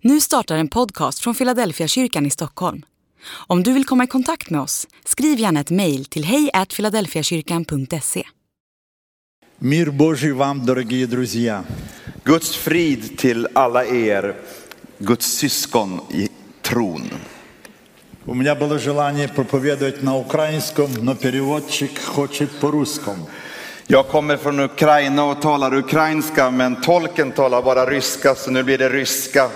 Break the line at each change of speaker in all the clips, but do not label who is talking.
Nu startar en podcast från Philadelphia kyrkan i Stockholm. Om du vill komma i kontakt med oss, skriv gärna ett mejl till hejfiladelfiakyrkan.se.
Мир Божий вам, дорогие друзья.
Guds frid till alla er, Guds syskon i tron.
У меня было желание проповедовать на украинском, но переводчик хочет по-русскому.
Jag kommer från Ukraina och talar ukrainska, men tolken talar bara ryska, så nu blir det ryska.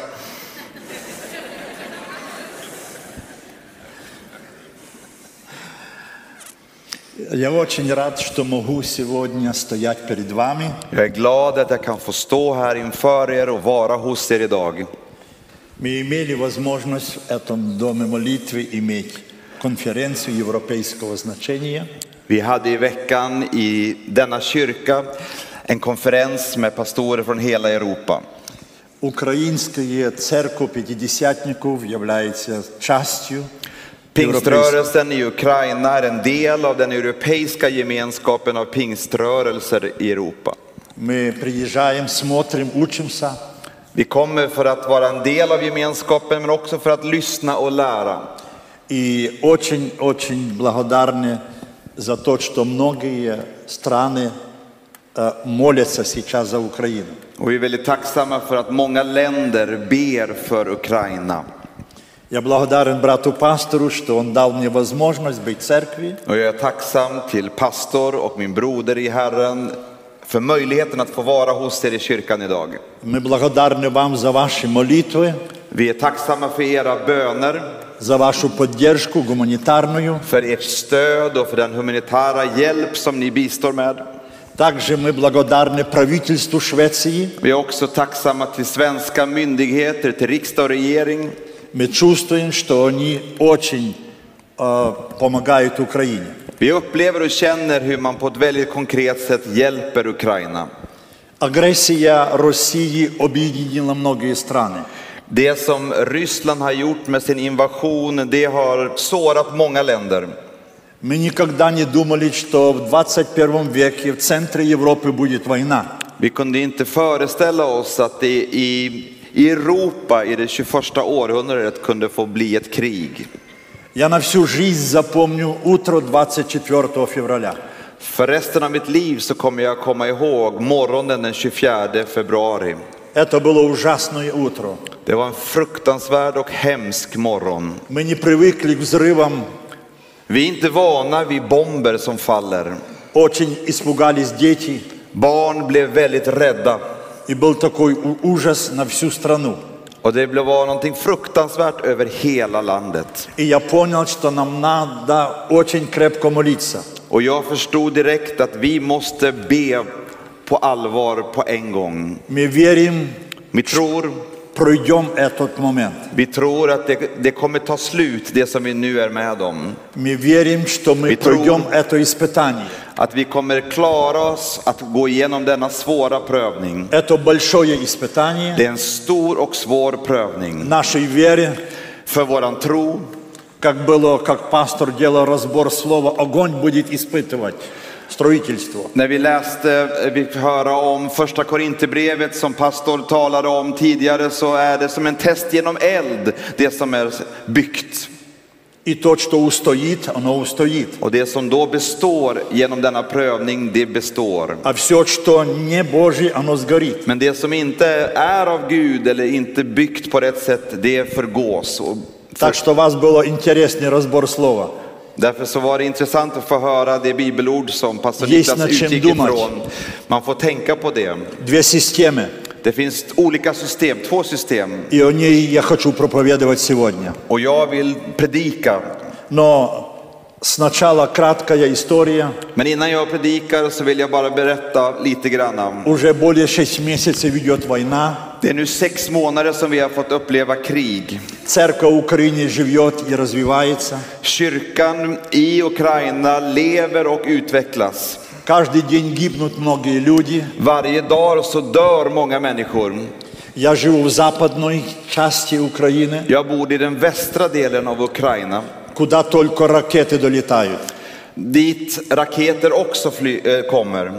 Я очень рад, что могу сегодня стоять перед вами.
Jag är glad att jag kan få stå här inför er och vara hos er idag.
Мы имели возможность в этом Доме молитвы иметь конференцию европейского значения.
Vi hade i veckan i denna kyrka en konferens med pastorer från hela Europa.
Украинская церковь пятидесятников является частью европейской-
Pingströrelsen i Ukraina är en del av den europeiska gemenskapen av pingströrelser i Europa.
Мы приезжаем, смотрим, учимся.
Vi kommer för att vara en del av gemenskapen, men också för att lyssna och lära.
И очень-очень благодарны за то, что многие страны э, молятся сейчас за Украину.
Och vi är väldigt tacksamma för att många länder ber för Ukraina.
Я благодарен брату пастору, что он дал мне возможность быть в церкви.
Och jag är tacksam till pastor och min broder i Herren för möjligheten att få vara hos er i kyrkan idag.
Мы благодарны вам за ваши молитвы,
Vi är tacksamma för era böner,
за вашу поддержку гуманитарную.
för ert stöd och för den humanitära hjälp som ni bistår med.
Также мы благодарны правительству Швеции.
Vi är också tacksamma till svenska myndigheter, till riksdag och regering.
Мы чувствуем, что они очень э, помогают Украине.
Vi upplever och känner hur man på ett väldigt konkret sätt hjälper Ukraina.
Агрессия России объединила многие страны.
Det som Ryssland har gjort med sin invasion, det har sårat många länder.
Мы никогда не думали, что в 21 веке в центре Европы будет война.
Vi kunde inte föreställa oss att det i, i Europa i det 21 århundradet kunde få bli ett krig.
Я на всю жизнь запомню утро 24 февраля.
För resten av mitt liv så kommer jag komma ihåg morgonen den 24 februari.
Это было ужасное утро.
Det var en fruktansvärd och hemsk morgon.
Мы не привыкли к взрывам,
Vi är inte vana vid bomber som faller.
очень испугались дети.
Barn blev väldigt rädda
И был такой у- ужас на всю страну.
och det blev- var någonting fruktansvärt över hela landet.
И я понял, что нам надо очень крепко молиться.
Och jag förstod direkt att vi måste be på allvar på en gång.
Мы верим,
Vi tror,
пройдем этот момент.
vi tror att det, det kommer ta slut, det som vi nu är med om.
Мы верим, что мы
И труд.
пройдем это испытание.
Att vi kommer klara oss att gå igenom denna svåra prövning.
Это большое испытание.
Det är en stor och svår prövning
нашей вере,
för våran tro.
как было, как пастор делал разбор слова, огонь будет испытывать строительство.
När vi läste, eh, vi fick höra om första Korinthierbrevet som pastor talade om tidigare så är det som en test genom eld, det som är byggt.
И то, что устоит, оно устоит.
Och det som då består genom denna prövning, det består.
А все, что не Божье, оно сгорит.
Men det som inte är av Gud eller inte byggt på rätt sätt, det förgås. Och
Так что у вас было интересный разбор слова.
därför så var det intressant att få höra det bibelord som pastor
Yes,
Niklas
nad czym
utgick
dumać.
ifrån. Man får tänka på det.
Две системы,
Det finns olika system, två system.
и о ней я хочу проповедовать сегодня.
Och jag vill predika.
Но сначала краткая история.
Men innan jag predikar så vill jag bara berätta lite grann.
Уже более шесть месяцев идет война.
Det är nu sex månader som vi har fått uppleva krig.
Церковь Украины живет и развивается.
Kyrkan i Ukraina lever och utvecklas.
Каждый день гибнут многие люди.
Varje dag så dör många människor.
Я живу в западной части Украины,
Jag bor i den västra delen av Ukraina,
куда только ракеты долетают.
dit raketer också fly, eh, kommer.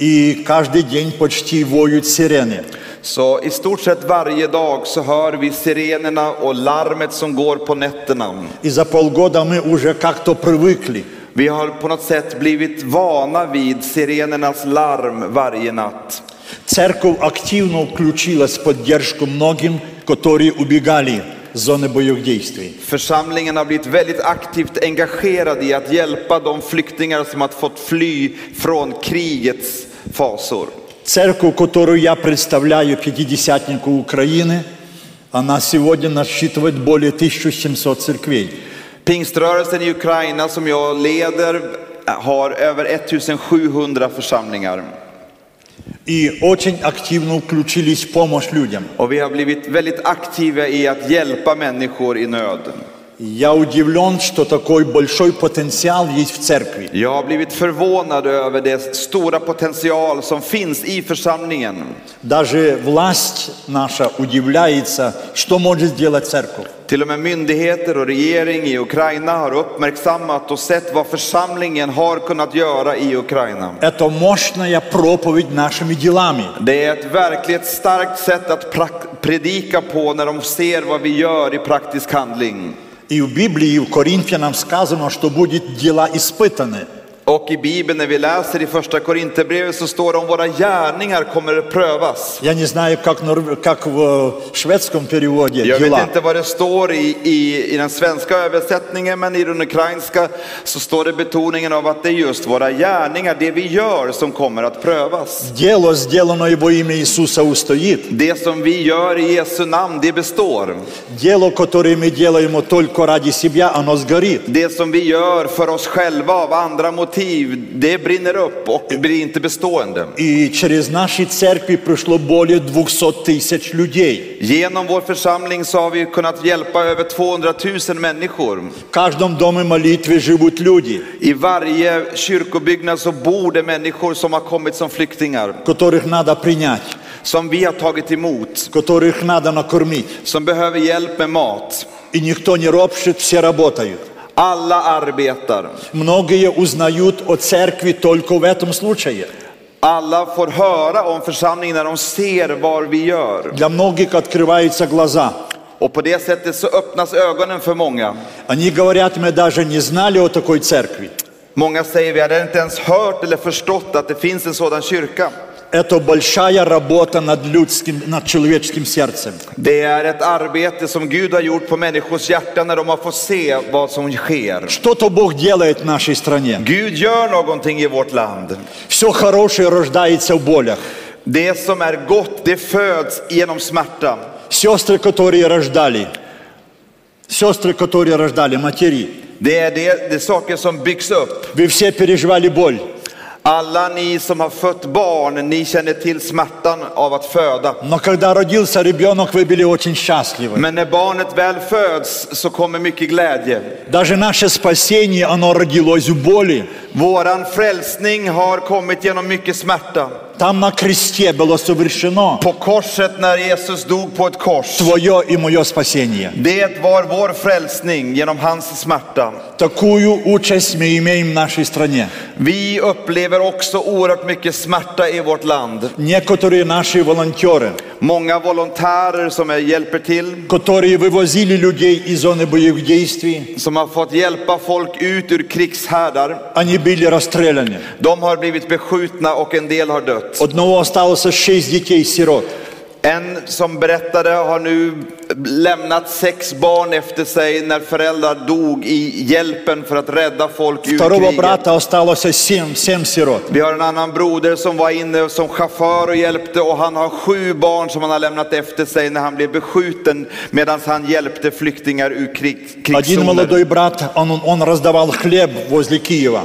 И каждый день почти воют сирены.
Så i stort sett varje dag så hör vi sirenerna och larmet som går på nätterna.
И за полгода мы уже как-то привыкли.
Vi har på något sätt blivit vana vid sirenernas larm varje natt.
Церковь активно включилась в поддержку многим, которые убегали с зоны боевых действий.
Församlingen har blivit väldigt aktivt engagerad i att hjälpa de flyktingar som har fått fly från krigets fasor.
Церковь, которую я представляю, пятидесятнику Украины, она сегодня насчитывает более 1700 церквей.
Pingströrelsen i Ukraina som jag leder har över 1700 församlingar.
И очень активно включились в помощь людям.
Och vi har blivit väldigt aktiva i att hjälpa människor i nöd.
Я удивлен, что такой большой потенциал есть в церкви.
Jag har blivit förvånad över det stora potential som finns i församlingen.
Даже власть наша удивляется, что может сделать церковь.
Till och med myndigheter och regering i Ukraina har uppmärksammat och sett vad församlingen har kunnat göra i Ukraina.
Это мощная проповедь нашими делами.
Det är ett verkligt starkt sätt att prak- predika på när de ser vad vi gör i praktisk handling.
И в Библии, и в Коринфянам сказано, что будут дела испытаны.
Och i Bibeln när vi läser i första Korinthierbrevet så står det om våra gärningar kommer att prövas.
Я не знаю, как, нор- как в э, шведском переводе
Jag vet
дела.
inte vad det står i, i, i den svenska översättningen men i den ukrainska så står det betoningen av att det är just våra gärningar, det vi gör som kommer att prövas.
Дело, сделанное во имя Иисуса, устоит.
Det som vi gör i Jesu namn, det består.
Дело, которое мы делаем только ради себя, оно сгорит.
Det som vi gör för oss själva av andra motiv, det brinner upp och blir inte bestående.
И через наши церкви пришло более 200 tысяч людей.
Genom vår församling så har vi kunnat hjälpa över 200 000 människor.
В каждом доме молитвы живут люди,
I varje kyrkobyggnad så bor det människor som har kommit som flyktingar,
которых надо принять,
som vi har tagit emot,
которых надо накормить.
som behöver hjälp med mat.
И никто не ропщет, все работают.
Alla arbetar.
Многие узнают о церкви только в этом случае.
Alla får höra om församlingen när de ser vad vi gör.
Для многих открываются глаза.
Och på det sättet så öppnas ögonen för många.
Они говорят, мы даже не знали о такой церкви.
Många säger vi hade inte ens hört eller förstått att det finns en sådan kyrka.
Это большая работа над людским, над человеческим сердцем.
Det är ett arbete som Gud har gjort på människors hjärta när de har fått se vad som sker.
Что-то Бог делает в нашей стране.
Gud gör någonting i vårt land.
Все хорошее рождается в болях.
Det som är gott, det föds genom smärta.
Сестры, которые рождали, сестры, которые рождали, materi,
Det är det, det är saker som byggs upp.
вы все переживали боль.
Alla ni som har fött barn, ni känner till smärtan av att föda.
Но когда родился ребенок, вы были очень счастливы.
Men när barnet väl föds så kommer mycket glädje.
Даже наше спасение, оно родилось в боли.
Våran frälsning har kommit genom mycket smärta.
Там на кресте было совершено
På korset när Jesus dog på ett kors.
твое и мое спасение.
Det var vår frälsning genom hans smärta.
Такую участь мы имеем в нашей стране.
Vi upplever också oerhört mycket smärta i vårt land.
Некоторые наши волонтеры,
Många volontärer som är- hjälper till,
которые вывозили людей из зоны боевых действий,
som har fått hjälpa folk ut ur krigshärdar.
они были расстреляны.
De har blivit beskjutna och en del har dött.
Одного осталось шесть детей-сирот.
En som berättade har nu lämnat sex barn efter sig när föräldrar dog i hjälpen för att rädda folk ur
Второго
kriget.
брата осталось семь, семь сирот.
Vi har en annan broder som var inne som chaufför och hjälpte och han har sju barn som han har lämnat efter sig när han blev beskjuten medan han hjälpte flyktingar ur krig,
Один
krigszoner.
молодой брат, он, он раздавал хлеб возле Киева.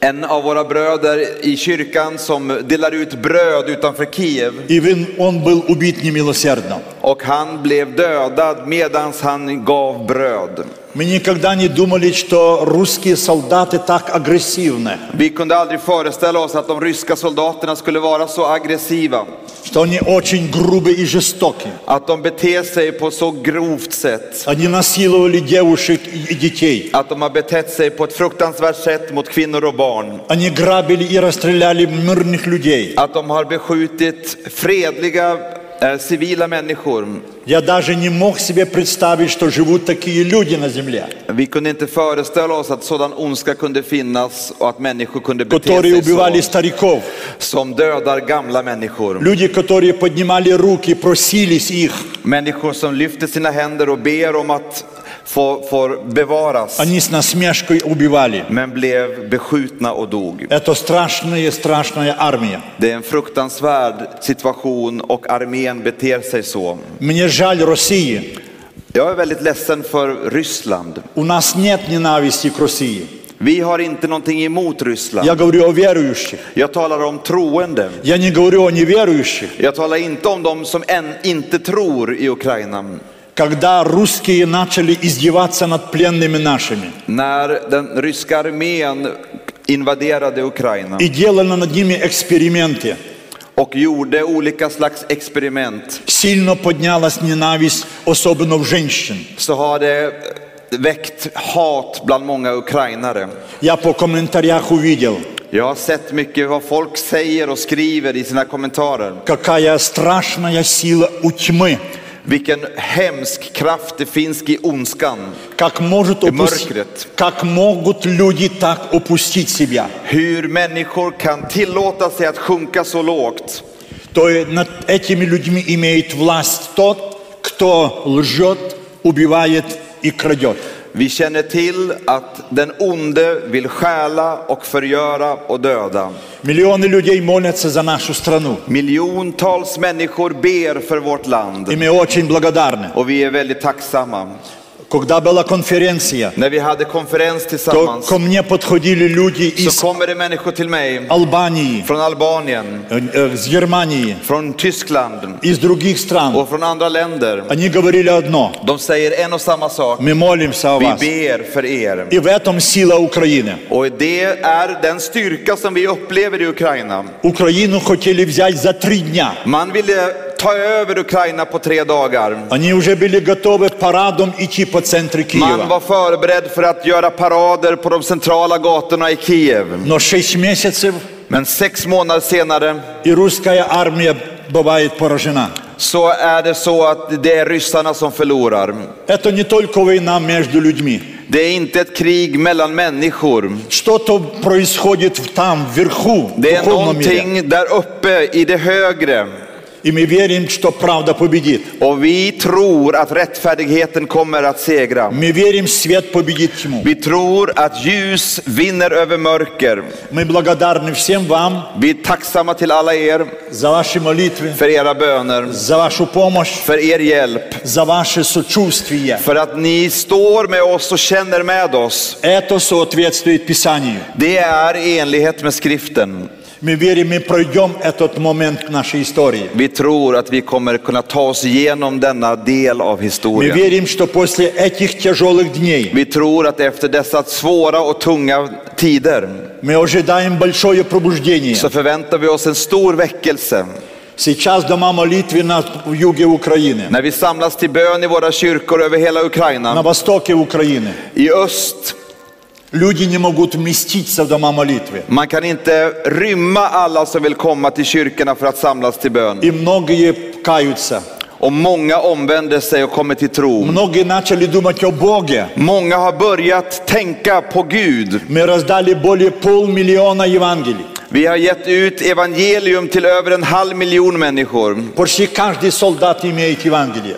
En av våra bröder i kyrkan som delar ut bröd utanför Kiev
И вин- он был убит немилосердно.
och han blev dödad medan han gav bröd.
Мы никогда не думали, что русские солдаты так агрессивны,
Vi kunde aldrig föreställa oss att de ryska soldaterna skulle vara så aggressiva,
что они очень грубы и жестоки.
att de beter sig på så grovt sätt,
Они насиловали девушек и и детей.
att de har betett sig på ett fruktansvärt sätt mot kvinnor och barn.
Они грабили и расстреляли мирных людей.
att de har beskjutit fredliga eh, civila människor.
Я даже не мог себе представить, что живут такие люди на земле,
Vi kunde inte föreställa oss att sådan ondska kunde finnas och att människor kunde bete
которые
sig
убивали
så,
стариков,
som dödar gamla människor.
люди, которые поднимали руки, просились их.
Människor som lyfter sina händer och ber om att få, få bevaras,
Они с насмешкой убивали.
men blev beskjutna och dog.
Это страшная, страшная армия.
Det är en fruktansvärd situation och armén beter sig så.
Мне жаль России.
Jag är väldigt ledsen för Ryssland.
У нас нет ненависти к России.
Vi har inte någonting emot Ryssland.
Я говорю о верующих.
Jag talar om troende.
Я не говорю о неверующих.
Jag talar inte om de som än inte tror i Ukraina.
Когда русские начали издеваться над пленными нашими
När den ryska armén invaderade Ukraina
и делали над ними эксперименты,
och gjorde olika slags experiment
сильно поднялась ненависть, особенно в женщин.
så har det väckt hat bland många ukrainare.
Я по комментариях увидел,
Jag har sett mycket vad folk säger och skriver i sina kommentarer.
какая страшная сила у тьмы,
Vilken hemsk kraft det finns i ondskan.
как, может
И
опус-
моркрет.
как могут люди так упустить себя.
Hur människor kan tillåta sig att sjunka så lågt.
То есть над этими людьми имеет власть тот, кто лжет, убивает и крадет.
Vi känner till att den onde vill stjäla och förgöra och döda.
Миллионы людей молятся за нашу страну.
Miljontals människor ber för vårt
И
land
мы очень благодарны.
och vi är väldigt tacksamma.
Когда была конференция,
När vi hade konferens
то
tillsammans
ко мне подходили люди
så
из
kommer det människor till mig
Албании,
från Albanien,
э, э, с Германии,
från Tyskland
из других стран.
och från andra länder.
Они говорили одно.
De säger en och samma sak.
Мы молимся о
Vi
вас.
ber för er.
И в этом сила Украины.
Och det är den styrka som vi upplever i Ukraina.
Украину хотели взять за три дня.
Man ville ta över Ukraina på tre dagar.
Они уже были готовы парадом идти по центру
Man
Киева.
var förberedd för att göra parader på de centrala gatorna i Kiev.
Но шесть месяцев
Men sex månader senare
и русская армия бывает поражена.
så är det så att det är ryssarna som förlorar.
Это не только война между людьми.
Det är inte ett krig mellan människor.
Что-то происходит там, вверху, в
Det är
духовном мире.
någonting där uppe i det högre.
И мы верим, что правда победит.
Och vi tror att rättfärdigheten kommer att segra.
Мы верим, свет победит тьму.
Vi tror att ljus vinner över mörker.
Мы благодарны всем вам
Vi är tacksamma till alla er
за ваши молитвы,
för era böner,
за вашу помощь,
för er hjälp,
за ваше сочувствие.
för att ni står med oss och känner med oss.
Это соответствует Писанию.
Det är i enlighet med skriften.
Мы верим, мы пройдем этот момент нашей истории.
Vi tror att vi kommer kunna ta oss igenom denna del av
Мы
historien.
верим, что после этих тяжелых дней
Vi tror att efter dessa svåra och tunga tider
мы ожидаем большое пробуждение.
så förväntar vi oss en stor väckelse.
Сейчас дома молитвы на в юге Украины,
När vi samlas till bön i våra kyrkor över hela
на
Ukraina,
востоке Украины.
i öst,
Люди не могут вместиться в дома молитвы.
man kan inte rymma alla som vill komma till kyrkorna för att samlas till bön.
И многие каются.
Och många omvänder sig och kommer till tro.
Многие начали думать о Боге.
Många har börjat tänka på Gud.
Мы раздали более полмиллиона Евангелий.
Vi har gett ut evangelium till över en halv miljon människor.
Почти каждый солдат имеет Евангелие.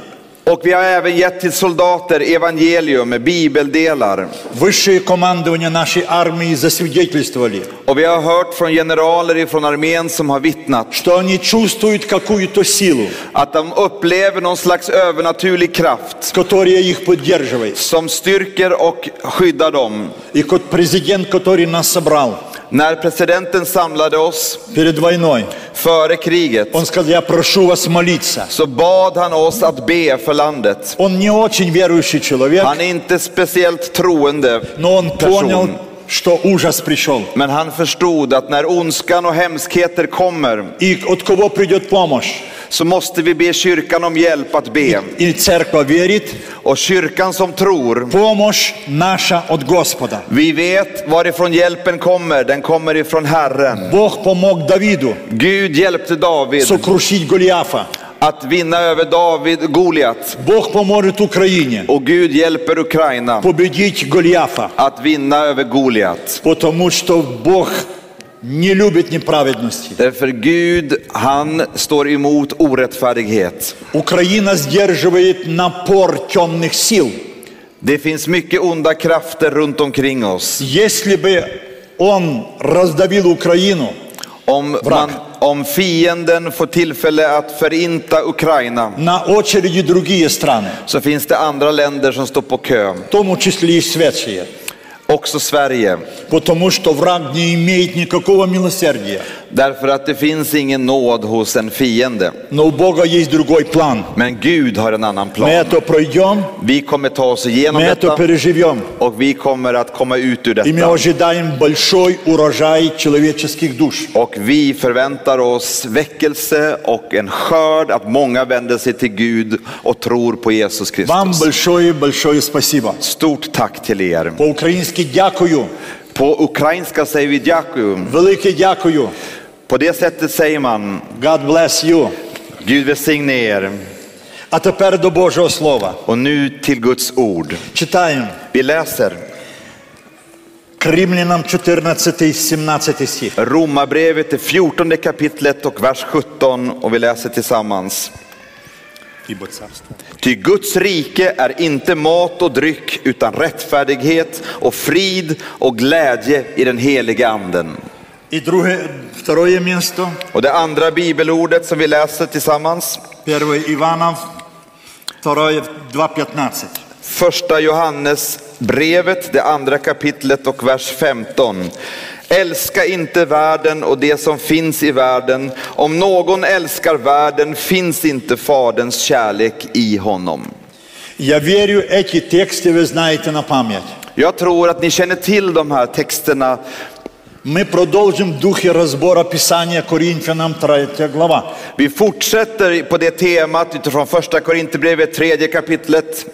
Och vi har även gett till soldater evangelium, bibeldelar.
Высшее командование нашей армии засвидетельствовали,
Och vi har hört från generaler ifrån armén som har vittnat
что они чувствуют какую-то силу,
att de upplever någon slags övernaturlig kraft
которая их поддерживает.
som styrker och skyddar dem.
И вот президент, который нас собрал
När presidenten samlade oss
перед войной,
före kriget
он сказал, я прошу вас молиться.
så bad han oss att be för landet.
Он не очень верующий человек,
Han är inte speciellt troende
но он понял,
person.
что ужас пришел.
Men han förstod att när ondskan och hemskheter kommer
И от кого придет помощь?
så måste vi be kyrkan om hjälp att be.
И церковь верит,
Och kyrkan som tror,
помощь наша от Господа.
vi vet varifrån hjälpen kommer. Den kommer ifrån Herren.
Бог помог Давиду
Gud hjälpte David
сокрушить Голиафа.
att vinna över David, Goliat.
Бог поможет Украине
Och Gud hjälper Ukraina
победить Голиафа,
att vinna över Goliat.
потому что Бог не любит неправедности.
Därför Gud, han står emot orättfärdighet.
Украина сдерживает напор темных сил.
Det finns mycket onda krafter runt omkring oss.
Если бы он раздавил Украину,
Om,
Vrak.
man, om fienden får tillfälle att förinta Ukraina
на очереди другие страны,
så finns det andra länder som står på kö.
в том числе и Швеция,
Också Sverige.
потому что враг не имеет никакого милосердия.
Därför att det finns ingen nåd hos en fiende.
Но у Бога есть другой план.
Men Gud har en annan
Мы
plan.
это пройдем,
Vi kommer ta oss
мы
igenom
это
detta
переживем.
och vi kommer att komma ut ur
И мы
detta.
ожидаем большой урожай человеческих душ.
Och vi förväntar oss väckelse och en skörd, att många vänder sig till Gud och tror på Jesus
Вам
Kristus.
большое-большое спасибо.
Стort tack till er.
По-украински дякую,
På ukrainska säger vi дякую.
велике дякую.
På det sättet säger man
God bless you.
Gud välsigne er.
А тепер до Божого Слова.
Och nu till Guds ord.
Читаем
Vi läser
к римлянам 14 и 17 стих.
Romarbrevet, det 14 kapitlet och vers 17 och vi läser tillsammans.
Ибо царство.
Ty Guds rike är inte mat och dryck utan rättfärdighet och frid och glädje i den heliga anden.
И другое, второе место,
Och det andra bibelordet som vi läser tillsammans,
1 Ивана, 2, 2.15.
första Johannes brevet, det andra kapitlet och vers 15. Älska inte världen och det som finns i världen. Om någon älskar världen finns inte faderns kärlek i honom.
Я верю, эти тексты вы знаете на память.
Jag tror att ni känner till de här texterna
Мы продолжим в духе разбора Писания Коринфянам 3 глава.
Vi fortsätter på det temat utifrån första Korinthierbrevet, tredje kapitlet.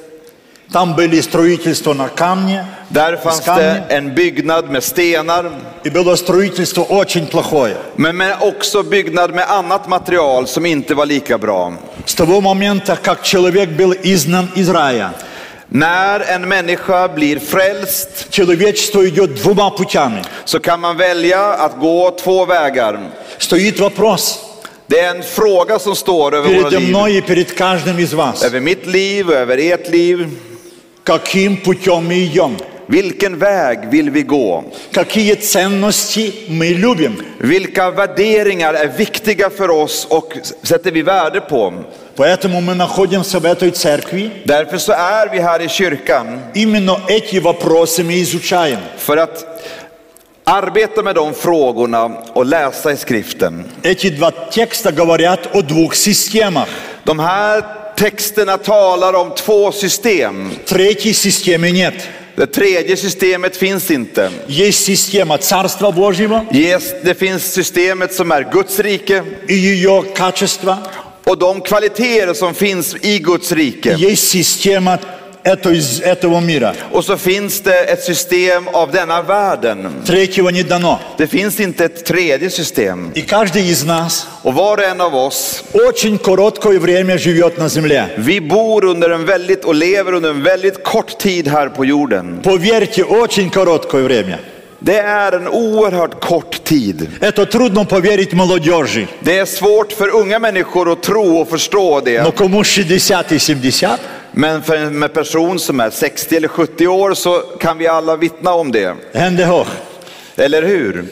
Там были строительства на камне,
Där
из
fanns det
камня,
en byggnad med stenar,
и было stроительство очень plохое.
men med också byggnad med annat material som inte var lika bra.
С того момента, как человек был изгнан из рая,
När en människa blir frälst
человечество идет двумя путями.
så kan man välja att gå två vägar.
Стоит вопрос
Det är en fråga som står över våra
передо
liv.
мной и перед каждым из вас.
Över mitt liv, över ert liv.
Каким путем мы идем?
Vilken väg vill vi gå?
Какие ценности мы любим?
Vilka värderingar är viktiga för oss och sätter vi värde på?
Поэтому мы находимся в этой церкви.
Därför så är vi här i kyrkan
Именно эти вопросы мы изучаем.
för att arbeta med de frågorna och läsa i skriften.
Эти два текста говорят о двух системах.
De här texterna talar om två system.
Третьей системы нет.
Det tredje systemet finns inte.
Есть система Царства Божьего
Yes, det finns systemet som är Guds rike
и ее качества.
och de kvaliteter som finns i Guds rike.
Есть система этой- этого мира.
Och så finns det ett system av denna världen.
Третьего не дано.
Det finns inte ett tredje system.
И каждый из нас
Och var och en av oss,
очень короткое время живет на земле.
vi bor under en väldigt och lever under en väldigt kort tid här på jorden.
Поверьте, очень короткое время.
Det är en oerhört kort tid.
Это трудно поверить молодежи.
Det är svårt för unga människor att tro och förstå
Но
det.
кому 60 и 70,
Men för en person som är 60 eller 70 år så kan vi alla vittna om det.
Генде Гох,
Eller hur?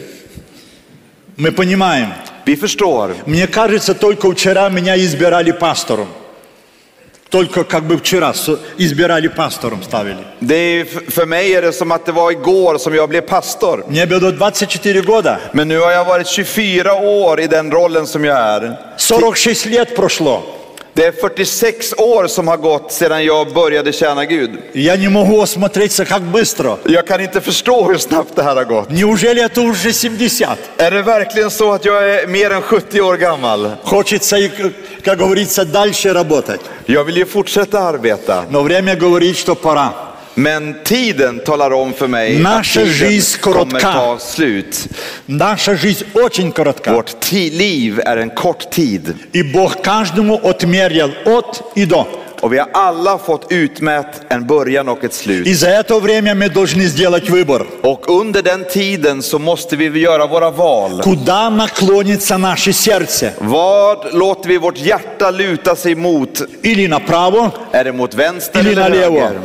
мы понимаем.
Vi förstår.
Мне кажется, только вчера меня избирали пастором. Только как бы вчера со- избирали пастором, ставили.
Det är, för mig är det som att det var igår som jag blev pastor.
Мне было 24 года,
Men nu har jag varit 24 år i den rollen som jag är.
46 lет прошло.
Det är 46 år som har gått sedan jag började tjäna Gud.
И Я не могу осмотреться, как быстро.
Jag kan inte förstå hur snabbt det här har gått.
Неужели это уже 70?
Är det verkligen så att jag är mer än 70 år gammal?
Хочется, и, как как говорится, дальше работать.
Jag vill ju fortsätta arbeta,
Но время говорит, что пора.
Men tiden talar om för mig
Наша
att tiden
жизнь
kommer
коротка.
ta slut.
Наша жизнь очень коротка.
Vårt ti- liv är en kort tid
И Бог каждому отмерил от и до.
och vi har alla fått utmätt en början och ett
И
slut.
за это время мы должны сделать выбор,
Och under den tiden så måste vi göra våra val.
куда наклонится наше сердце.
Vad låter vi vårt hjärta luta sig mot?
Или направо.
Är det mot vänster
Или
eller
налево.
höger?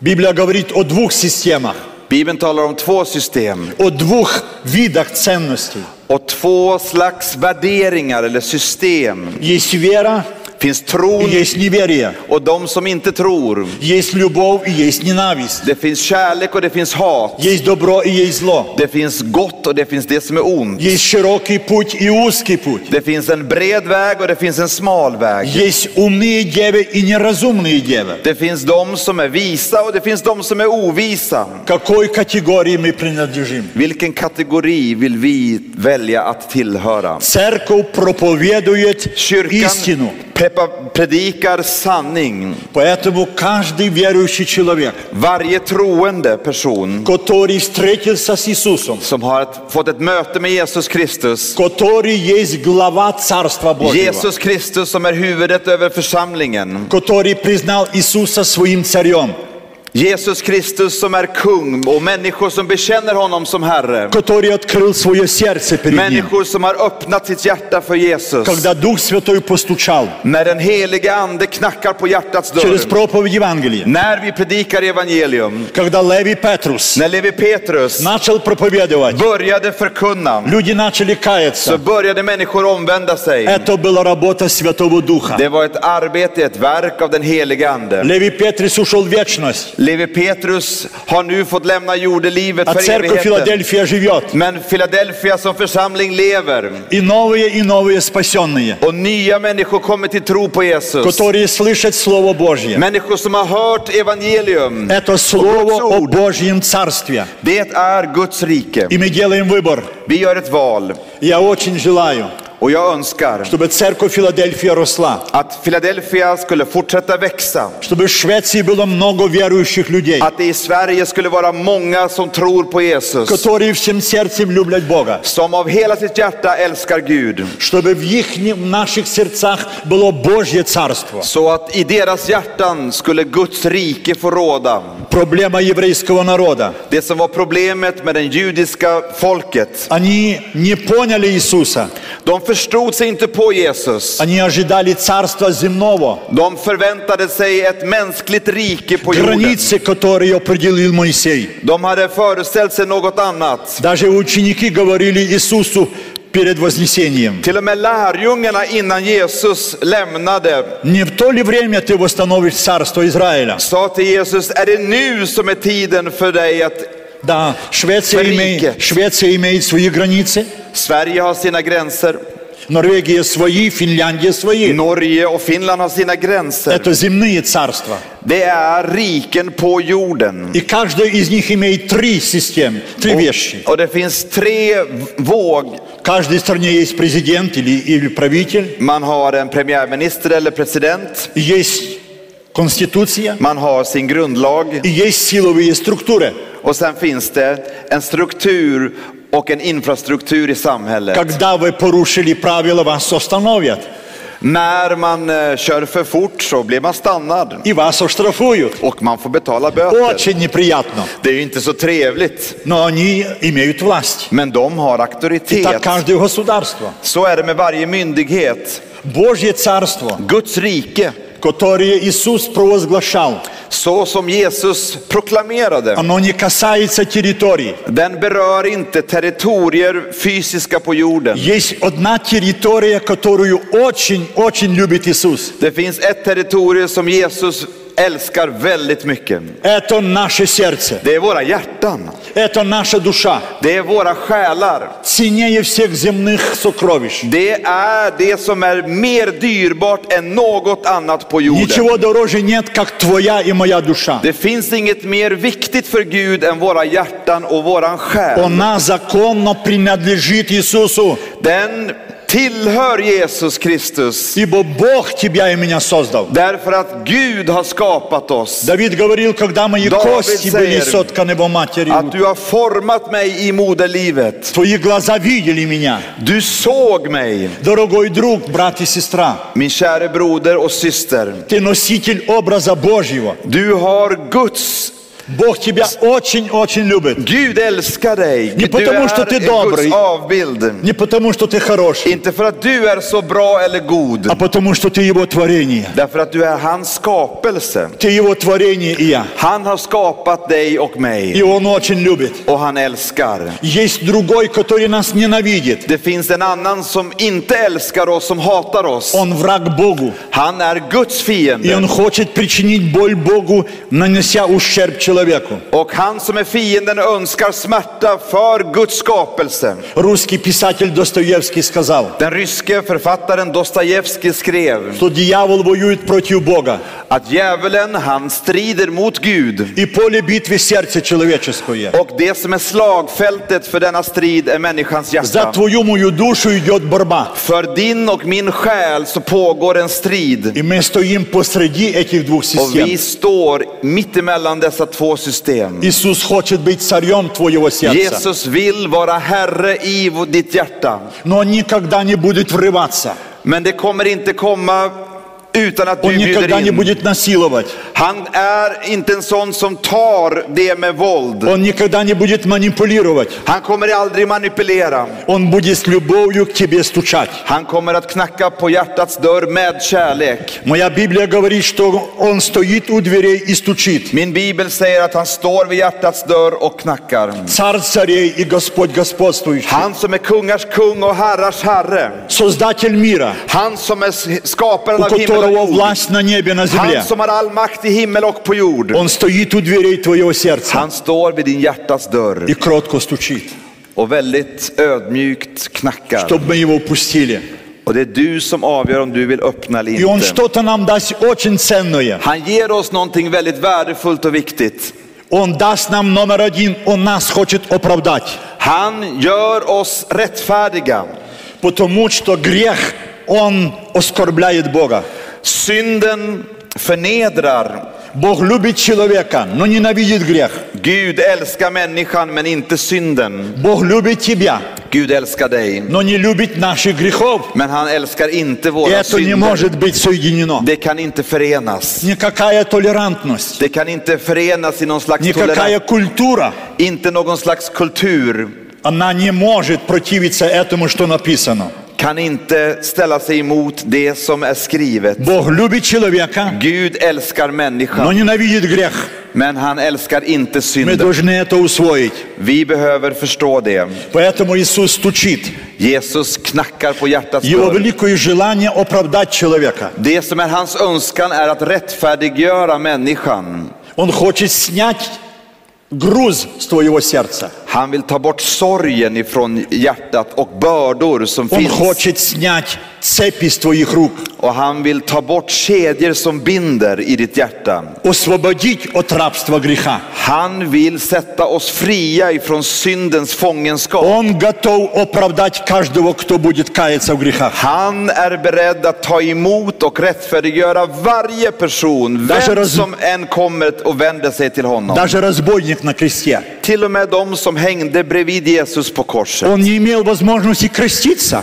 Библия говорит о двух системах,
Bibeln talar om två system
о двух видах ценностей.
och två slags värderingar eller system.
Есть вера,
finns
и
tron
есть неверие.
och de som inte tror.
Есть любовь и есть ненависть.
Det finns kärlek och det finns hat.
Есть добро и есть зло.
Det finns gott och det finns det som är ont.
Есть широкий путь и узкий путь.
Det finns en bred väg och det finns en smal väg.
Есть умные девы и неразумные девы.
Det finns de som är visa och det finns de som är ovisa.
К какой категории мы принадлежим?
Vilken kategori vill vi välja att tillhöra?
Церковь проповедует
Kyrkan
истину.
prepa- predikar sanning.
Поэтому каждый верующий человек,
Varje troende person
который встретился с Иисусом,
som har ett, fått ett möte med Jesus Kristus,
который есть глава Царства Божьего,
Jesus Kristus som är huvudet över församlingen,
который признал Иисуса своим царем,
Jesus Kristus som är kung och människor som bekänner honom som Herre.
который открыл свое сердце перед ним,
Människor som har öppnat sitt hjärta för Jesus.
когда Дух Святой постучал
När den helige ande knackar på hjärtats
через
dörr.
проповедь Евангелия,
När vi predikar evangelium.
когда Леви Петрус
När Levi Petrus
начал проповедовать,
började förkunna
люди начали
så
каяться.
började människor omvända sig.
Это была работа Святого Духа.
Det var ett arbete, ett verk av den helige ande.
Леви Петрус ушел в вечность,
Levi Petrus har nu fått lämna jordelivet
а
för
церковь
evigheten.
Филадельфия живет.
Men Philadelphia som församling lever.
И новые, и новые спасенные,
Och nya människor kommer till tro på Jesus.
которые слышат Слово Божье.
Människor som har hört evangelium,
Это Слово о Божьем Царстве.
det är Guds rike.
И мы делаем выбор.
Vi gör ett val
Я очень желаю,
och jag önskar
чтобы церковь Филадельфия росла,
att Philadelphia skulle fortsätta växa.
чтобы в Швеции было много верующих людей,
Att det i Sverige skulle vara många som tror på Jesus.
которые всем сердцем любят Бога,
Som av hela sitt hjärta älskar Gud.
чтобы в, их, в наших сердцах было Божье Царство.
Så att i deras hjärtan skulle Guds rike få råda.
Проблема еврейского народа.
Det som var problemet med det judiska folket.
Они не поняли Иисуса,
De förstod sig inte på Jesus.
они ожидали Царства земного,
De förväntade sig ett mänskligt rike på jorden.
границы, которые определил Моисей.
De hade föreställt sig något annat.
Даже ученики говорили Иисусу перед Вознесением,
Till och med lärjungarna innan Jesus lämnade
не в то ли время ты восстановишь Царство Израиля?
sa till Jesus, är det nu som är tiden för dig att
Да, Швеция имеет,
Рейке.
Швеция имеет свои границы,
Sverige har sina gränser,
Норвегия свои, Финляндия свои.
Norge och Finland har sina gränser.
Это земные царства.
Det är riken på jorden.
И каждая из них имеет три системы, три вещи.
Och det finns tre våg.
В каждой стране есть президент или, или правитель,
Man har en premiärminister eller president.
и есть конституция,
Man har sin grundlag.
и есть силовые структуры.
Och sen finns det en struktur och en infrastruktur i samhället.
Когда вы порушили правила, вас остановят
När man eh, kör för fort så blir man stannad
и вас оштрафуют.
och man får betala böter.
Очень неприятно,
Det är ju inte så trevligt,
но они имеют власть.
men de har
И так
auktoritet.
каждое государство.
Så är det med varje myndighet.
Божье царство,
Guds rike,
которое Иисус провозглашал,
så som Jesus proklamerade,
оно не касается территорий.
den berör inte territorier fysiska på jorden.
Есть одна территория, которую очень-очень любит Иисус.
Det finns ett territorium som Jesus älskar väldigt mycket.
Это наше сердце,
Det är våra hjärtan.
это наша душа.
Det är våra själar.
Ценнее всех земных сокровищ.
Det är det som är mer dyrbart än något annat på jorden.
Ничего дороже нет, как твоя и моя душа.
Det finns inget mer viktigt för Gud än våra hjärtan och våran själ.
Она законно принадлежит Иисусу.
Den tillhör Jesus Kristus.
Ибо Бог тебя и меня создал.
Därför att Gud har skapat oss.
Давид говорил, когда мои
Давид
кости были
säger,
сотканы его
Att
матерью,
du har format mig i moderlivet.
твои глаза видели меня.
Du såg mig.
Дорогой друг, брат и сестра,
Min käre broder och syster.
ты носитель образа Божьего.
Du har Guds...
Бог тебя очень-очень любит.
Gud älskar dig.
Не
Du
потому, что
är
ты
en
добрый.
Guds avbild.
Не потому, что ты хороший,
Inte för att du är så bra eller god.
а потому, что ты Его творение.
Därför att du är hans skapelse.
Ты Его tvorение и я.
Han har skapat dig och
И
mig.
Он очень любит.
Och han älskar.
Есть другой, который нас ненавидит.
Det finns en annan som inte älskar oss, som hatar oss.
Он враг Богу.
Han är Guds
И он
fiende.
хочет причинить боль Богу, нанеся ущерб человеку.
Och han som är fienden önskar smärta för Guds skapelse.
Русский писатель Достоевский сказал,
Den ryske författaren Dostojevskij skrev
что дьявол воюет против Бога,
att djävulen, han strider mot Gud.
и поле битвы сердце человеческое.
Och det som är slagfältet för denna strid är människans
За
hjärta.
твою мою душу идет борьба.
För din och min själ så pågår en strid.
И мы стоим посреди этих двух
Och vi
систем.
står mitt emellan dessa två system.
Иисус хочет быть царем твоего сердца,
Jesus vill vara Herre i v- ditt hjärta.
но он никогда не будет врываться.
Men det kommer inte komma utan att du
Он никогда
bjuder
не
in.
будет насиловать.
Han är inte en sån som tar det med våld.
Он никогда не будет манипулировать.
Han kommer aldrig manipulera.
Он будет с любовью к тебе стучать.
Han kommer att knacka på hjärtats dörr med kärlek.
Моя Библия говорит, что он стоит у дверей и стучит.
Min bibel säger att han står vid hjärtats dörr och knackar.
Царь царей и Господь господствующий.
Han som är kungars kung och herrars herre.
Создатель мира,
Han som är s- skaparen
у
av himmel och
которого
jord.
власть на небе, на земле.
Han som har all makt i himmel och på jord.
Он стоит у дверей твоего сердца
Han står vid din hjärtas dörr
и кротко стучит,
och väldigt ödmjukt knackar.
чтобы мы его упустили.
Och det är du som avgör om du vill öppna eller
И он
inte.
что-то нам даст очень ценное.
Han ger oss någonting väldigt värdefullt och viktigt.
Он даст нам номер один, он нас хочет оправдать.
Han gör oss rättfärdiga.
Потому что грех, он оскорбляет Бога.
Synden förnedrar.
Бог любит человека, но ненавидит грех.
Gud älskar människan men inte synden.
Бог любит тебя,
Gud älskar dig.
но не любит наших грехов.
Men han älskar inte
И
våra
это не
synder.
может быть соединено.
Det kan inte förenas.
Никакая толерантность,
Det kan inte förenas i någon slags
никакая
tolerans.
культура,
Inte någon slags kultur.
она не может противиться этому, что написано.
Kan inte ställa sig emot det som är skrivet.
Бог любит человека,
Gud älskar
но
människan.
ненавидит грех.
Men han älskar inte
Мы
synden.
должны это усвоить.
Vi behöver förstå det.
Поэтому Иисус стучит.
Jesus knackar på hjärtats
Его
dörr.
великое желание оправдать человека.
Det som är hans önskan är att rättfärdiggöra människan.
Он хочет снять груз с твоего сердца.
Han vill ta bort sorgen ifrån hjärtat och bördor som
Он
finns.
хочет снять цепи с твоих рук.
Och han vill ta bort kedjor som binder i ditt hjärta.
Освободить от рабства греха.
Han vill sätta oss fria ifrån syndens fångenskap.
Он готов оправдать каждого, кто будет каяться в грехах.
Han är beredd att ta emot och rättfärdiggöra varje person,
Därför
vem
ros-
som än kommer och vänder sig till honom.
Даже разбойник на кресте.
Till och med de som hängde bredvid Jesus på korset.
Он не имел возможности креститься.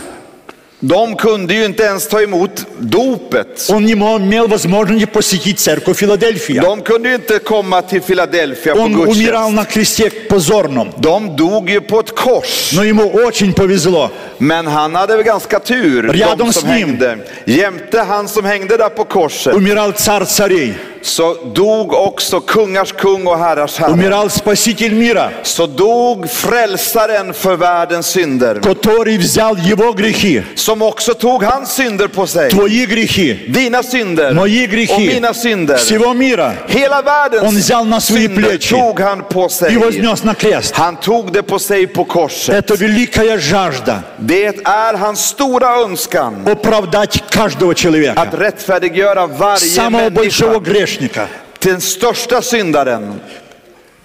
De kunde ju inte ens ta emot dopet.
Он не мо- имел возможности посетить церковь Филадельфия.
De kunde ju inte komma till Philadelphia på
Он умирал
gudstjänst.
на кресте позорном.
De dog ju på ett kors.
Но ему очень повезло.
Men han hade väl ganska tur, de
Рядом с
som
ним.
hängde. Jämte han som hängde där på korset
Умирал царь царей.
så dog också kungars kung och herrars herre.
Умирал спаситель мира,
Så dog frälsaren för världens synder.
который взял его грехи.
Som också tog hans synder på sig.
Твои грехи.
Dina synder
Мои
och
грехи.
mina synder.
Всего мира.
Hela
Он
världens
взял на свои
synder
плечи
tog han på sig.
и вознес на крест.
Han tog det på sig på korset.
Это великая жажда
Det är hans stora önskan
оправдать каждого
att
человека.
rättfärdiggöra varje
Самого большого
människa.
грешника.
Till den största syndaren.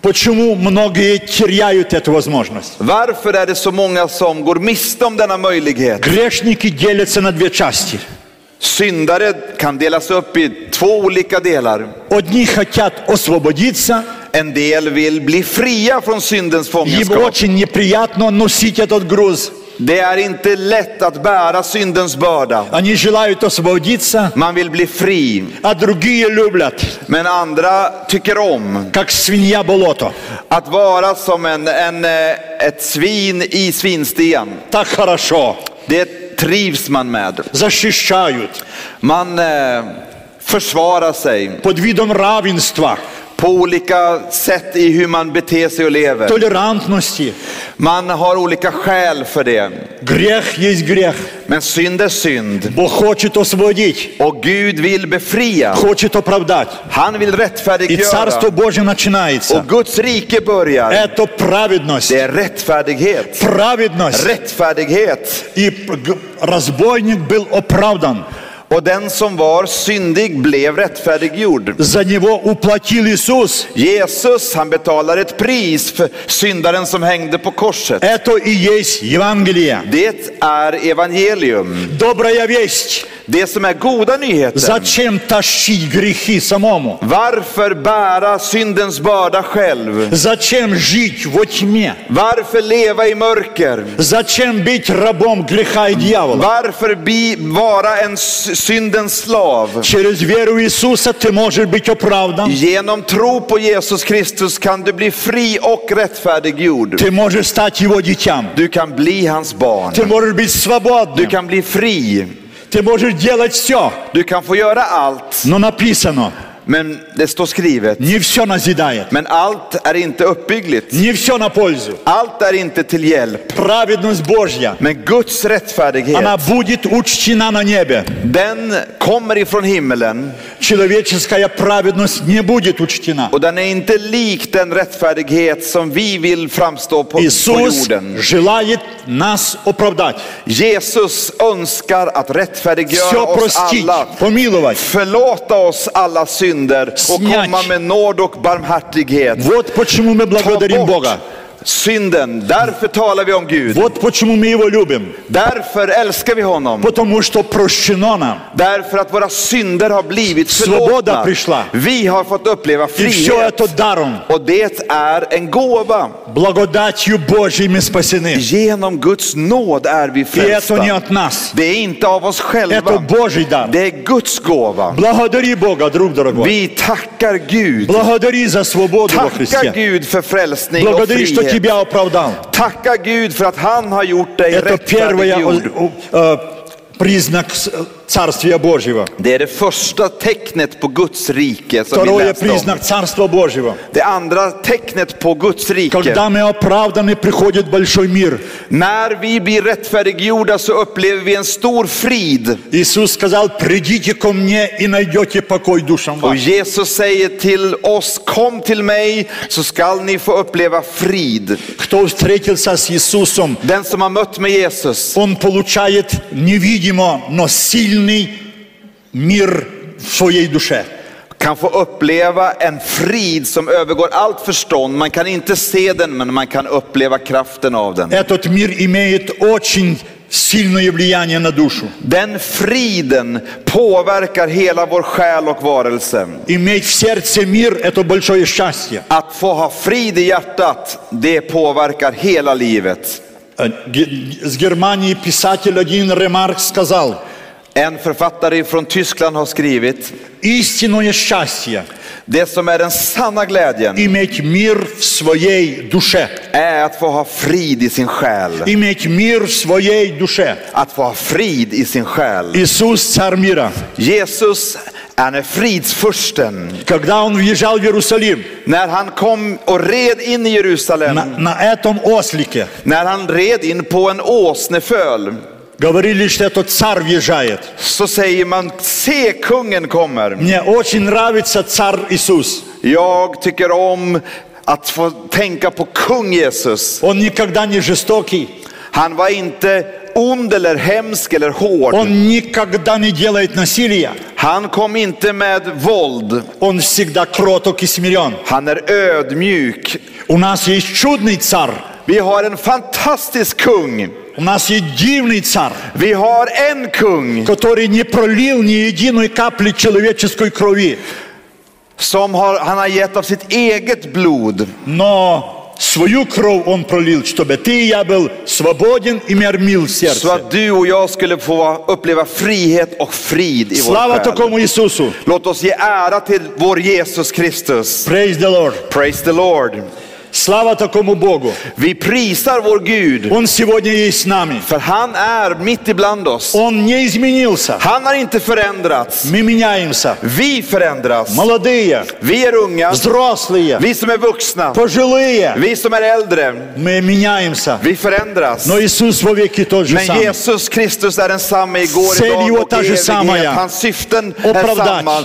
Почему многие теряют эту возможность?
Varför är det så många som går miste om denna möjlighet?
Грешники делятся на две части.
Syndare kan delas upp i två olika delar.
Одни хотят освободиться,
En del vill bli fria från syndens
им
fångenskap.
очень неприятно носить этот груз.
Det är inte lätt att bära syndens börda.
Они желают освободиться,
Man vill bli fri,
а другие любят,
men andra tycker om
как свинья болото.
att vara som en, en, eh, ett svin i svinstian.
Так хорошо.
Det trivs man med.
Защищают
Man eh, försvarar sig
под видом равенства,
på olika sätt i hur man beter sig och lever.
толерантности.
Man har olika skäl för det.
Грех есть грех.
Men synd är synd.
Бог хочет освободить,
Och Gud vill befria.
хочет оправдать.
Han vill
И Царство
rättfärdiggöra.
Божье начинается.
Och Guds rike börjar.
Это праведность.
Det är rättfärdighet.
Праведность.
Rättfärdighet.
И п- г- разбойник был оправдан.
Och den som var syndig blev rättfärdiggjord.
За него уплатил Иисус.
Jesus, han betalar ett pris för syndaren som hängde på korset.
Это и есть Евангелие.
Det är evangelium.
Добрая весть.
Det som är goda nyheter.
Зачем тащить грехи самому?
Varför bära syndens börda själv?
Зачем жить во тьме?
Varför leva i mörker?
Зачем быть рабом греха и дьявола?
Varför bi, vara en s- syndens slav?
Через веру Иисуса ты можешь быть оправдан.
Genom tro på Jesus Kristus kan du bli fri och rättfärdiggjord.
Ты можешь стать его дитям.
Du kan bli hans barn.
Ты можешь быть
Du
свободным.
kan bli fri.
Ты можешь делать все.
Du kan få göra allt.
Но написано,
Men det står skrivet.
не все назидает.
Men allt är inte uppbyggligt.
Не все на пользу.
Allt är inte till hjälp.
Праведность Божья,
Men Guds
она
rättfärdighet,
будет учтена на небе.
den kommer ifrån himmelen.
Человеческая праведность не будет учтена.
Och den är inte lik den rättfärdighet som vi vill framstå på, på
Иисус
jorden.
желает нас оправдать,
Jesus önskar att rättfärdiggöra
все
oss
простить,
alla.
помиловать.
Förlåta oss alla synder och
Snatch.
komma med nåd och barmhärtighet.
Вот почему мы
Ta
благодарим
bort
Бога.
synden. Därför talar vi om Gud.
Вот почему мы Его любим.
Därför älskar vi honom.
Потому что прощено нам.
Därför att våra synder har blivit
Svoboda
förlåtna.
prišla.
Vi har fått uppleva
И все
frihet.
это даром.
Och det är en gåva.
Благодатью Божьей мы спасены.
Genom Guds nåd är vi
И это не
frälsta.
от нас.
Det är inte av oss
Это
själva.
Божий дар.
Det är Guds gåva.
Благодари Бога, друг дорогой.
Vi tackar Gud.
Благодари за свободу во
Tacka
Христе.
Gud för frälsning och
Благодари, что
frihet.
тебя оправдал.
Tacka Gud för att han har gjort dig
Это первый
rättfärdiggjord.
признак с- э, Царствия Божьего.
Det är det första tecknet på Guds rike som vi
Второе
läste om.
признак Царства Божьего.
Det andra tecknet på Guds rike.
Когда мы оправданы, приходит большой мир.
När vi blir rättfärdiggjorda så upplever vi en stor frid.
Иисус сказал, придите ко мне и найдете покой душам
Och
вашим.
Jesus säger till oss, kom till mig så skall ni få uppleva frid.
Кто встретился с Иисусом,
Den som har mött med Jesus,
он получает невидимо, но сильный мир в своей душе.
kan få uppleva en frid som övergår allt förstånd. Man kan inte se den, men man kan uppleva kraften av den.
Этот мир имеет очень сильное влияние на душу.
Den friden påverkar hela vår själ och varelse.
Иметь в сердце мир – это большое счастье.
Att få ha frid i hjärtat, det påverkar hela livet.
Э, Ге- С Германии писатель один Ремарк сказал,
En författare från Tyskland har skrivit,
истинное счастье
det som är den sanna glädjen
иметь мир в своей душе.
är att få ha frid i sin själ.
Иметь мир в своей душе.
Att få ha frid i sin själ.
Иисус – царь мира.
Jesus, han är fridsfursten.
Когда он въезжал в Иерусалим,
När han kom och red in i Jerusalem,
на, на этом ослике
när han red in på en åsneföl,
говорили, что этот царь въезжает.
så säger man, se kungen kommer.
Мне очень нравится царь Иисус.
Jag tycker om att få tänka på kung Jesus.
Он никогда не жестокий,
Han var inte ond eller hemsk eller hård.
Он никогда не делает насилия.
Han kom inte med våld.
Он всегда кроток и смирен.
Han är ödmjuk.
У нас есть чудный царь.
Vi har en fantastisk kung.
У нас есть дивный царь,
Vi har en kung
который не пролил ни единой капли человеческой крови,
som har, han har gett av sitt eget blod.
но свою кровь он пролил, чтобы ты и я был свободен и мир мил в
Så
сердце.
att du och jag skulle få uppleva frihet och frid i vår
Слава
själ.
такому Иисусу!
Låt oss ge ära till vår Jesus Kristus.
Praise the Lord!
Praise the Lord.
Слава такому Богу!
Vi prisar vår Gud,
Он сегодня есть с нами.
för han är mitt ibland oss.
Он не изменился.
Han har inte förändrats.
Мы меняемся.
Vi förändras.
Молодые,
Vi är unga,
взрослые,
vi som är vuxna,
пожилые.
vi som är äldre.
Мы меняемся.
Vi förändras.
Но Иисус вовеки тот же
Men
самый.
Jesus Kristus är densamme igår,
Sen
idag
jo,
och i
ta ju samma,
evighet.
ja.
Hans syften
Och
är
pravdat.
samma.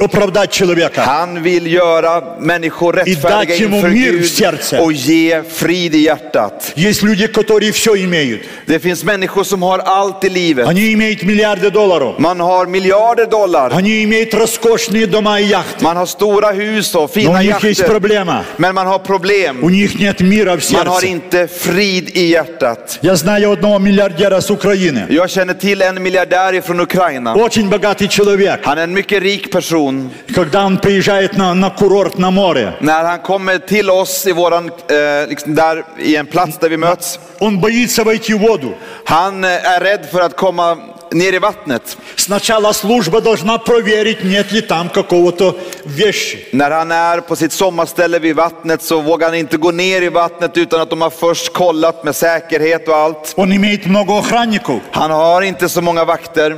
Оправдать человека.
Han vill göra människor rättfärdiga
dać jemu
inför
mir w
Gud
serce.
och ge frid i hjärtat.
Есть люди, которые все имеют.
Det finns människor som har allt i livet.
Они имеют миллиарды долларов.
Man har miljarder dollar,
Они имеют роскошные дома и яхты.
man har stora hus och
Но у
fina
них есть
jachter.
проблема.
Men man har
У
problem.
них нет мира в
Man har
сердце.
inte frid i hjärtat.
Я знаю одного миллиардера с Украины.
Jag känner till en miljardär från Ukraina.
Очень богатый человек.
Han är en mycket rik person.
Когда он приезжает на, на курорт на море,
När han kommer till oss i våran, eh, liksom där, i en plats där vi möts,
он боится войти в воду.
han eh, är rädd för att komma ner i vattnet.
Сначала служба должна проверить, нет ли там какого-то вещи.
När han är på sitt sommarställe vid vattnet så vågar han inte gå ner i vattnet utan att de har först kollat med säkerhet och allt.
Он имеет много охранников.
Han har inte så många vakter.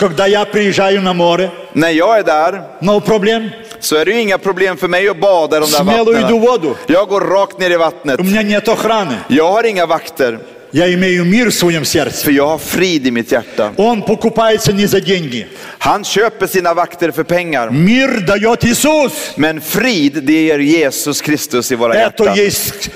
Когда я приезжаю на море,
När jag är där
но проблем,
så är det ju inga problem för mig att bada i de där
смело иду в
vattnen.
воду.
Jag går rakt ner i vattnet.
У меня нет охраны.
Jag har inga vakter,
Я имею мир в своем сердце.
för jag har frid i mitt hjärta.
Он покупается не за деньги.
Han köper sina vakter för pengar.
Мир дает Иисус.
Men frid, det ger Jesus Kristus i våra
Это
hjärtan.
есть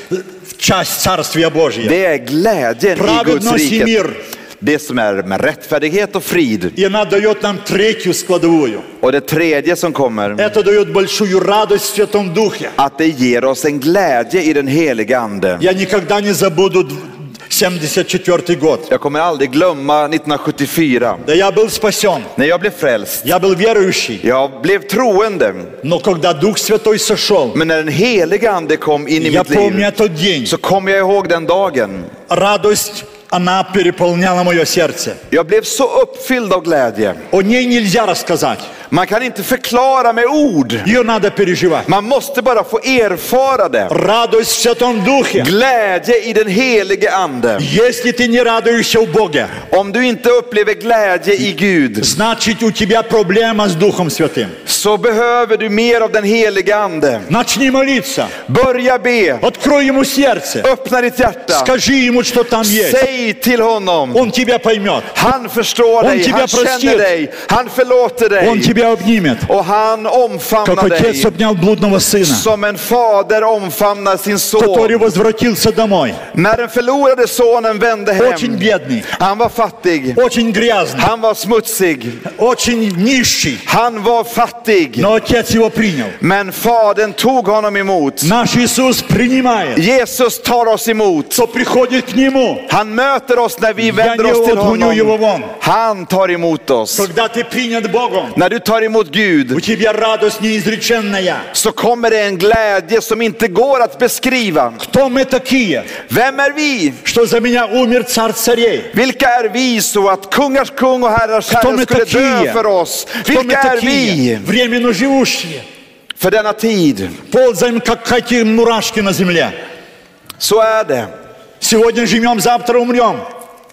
часть Царствия Божьего.
Det är glädjen i Guds
Праведность и
rike.
мир.
Det som är med rättfärdighet och frid.
И она дает нам третью складовую.
Och det tredje som kommer,
Это дает большую радость в Святом Духе.
att det ger oss en glädje i den heliga Ande.
Я никогда не забуду дв- 74 год.
Jag kommer aldrig glömma 1974,
Да я был спасен,
när jag blev frälst.
я был верующий,
Jag blev troende,
но когда Дух Святой сошел,
men när den heliga Ande kom in i
я
mitt
помню
liv
этот день.
så kom jag ihåg den dagen.
Радость, она переполняла мое сердце.
Jag blev så uppfylld av glädje.
О ней нельзя рассказать,
Man kan inte förklara med ord.
ее надо переживать.
Man måste bara få erfara det.
Радость в Святом Духе.
Glädje i den helige ande.
Если ты не радуешься в Боге,
Om du inte upplever glädje i Gud
значит у тебя проблема с Духом Святым.
så behöver du mer av den helige ande.
Начни молиться,
Börja be.
открой ему сердце,
Öppna ditt hjärta.
скажи ему, что там есть.
Säg till honom.
Он тебя pоймет,
Han förstår
Om
dig.
tibia
Han känner
prostit.
dig. Han förlåter
он
dig.
тебя обнимет.
Och han
Как
omfamnar
отец
dig.
обнял блудного сына,
Som en fader omfamnar sin
который
son.
возвратился домой,
När den förlorade sonen vände
очень
hem.
бедный,
Han var fattig.
очень грязный,
Han var smutsig.
очень нищий,
Han var fattig.
но отец его принял.
Men Fadern tog honom emot.
Наш Иисус принимает,
Jesus tar oss emot.
кто приходит к Нему.
Han möter oss när vi vänder
ni
oss till
odhonju ju
honom.
von.
Han tar emot oss.
Когда ты принят Богом,
När du tar emot
у
Gud
тебя радость неизреченная.
så kommer det en glädje som inte går att beskriva.
Кто мы такие,
Vem är vi?
что за меня умер царь царей?
Vilka är vi så att kungars kung och herrars
Кто
herre
мы
skulle dö
такие?
för oss?
Кто мы
Vilka är
такие?
vi
Временно живущие.
för denna tid?
Ползаем, как какие мурашки на земле.
Så är det.
Сегодня живем, завтра умрем.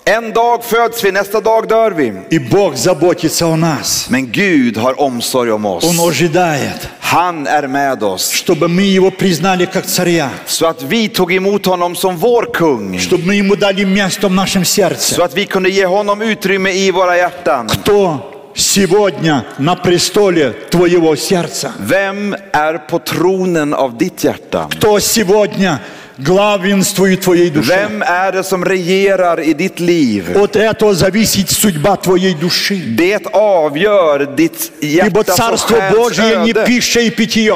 En dag föds vi, nästa dag dör vi.
И Бог заботится о нас.
Men Gud har omsorg om
Он
oss.
ожидает,
Han är med oss.
чтобы мы Его признали как царя,
Så att vi tog emot honom som vår kung.
чтобы мы Ему дали место в нашем сердце.
Så att vi kunde ge honom utrymme i våra hjärtan.
Кто сегодня на престоле твоего сердца?
Vem är på tronen av ditt hjärta?
Кто сегодня главенствует твоей душе.
Vem är det som regerar i ditt liv?
От этого зависит судьба твоей души.
Det avgör ditt
Ибо
hjärtas och
Царство
själs
Божие не
öde.
пища и питье,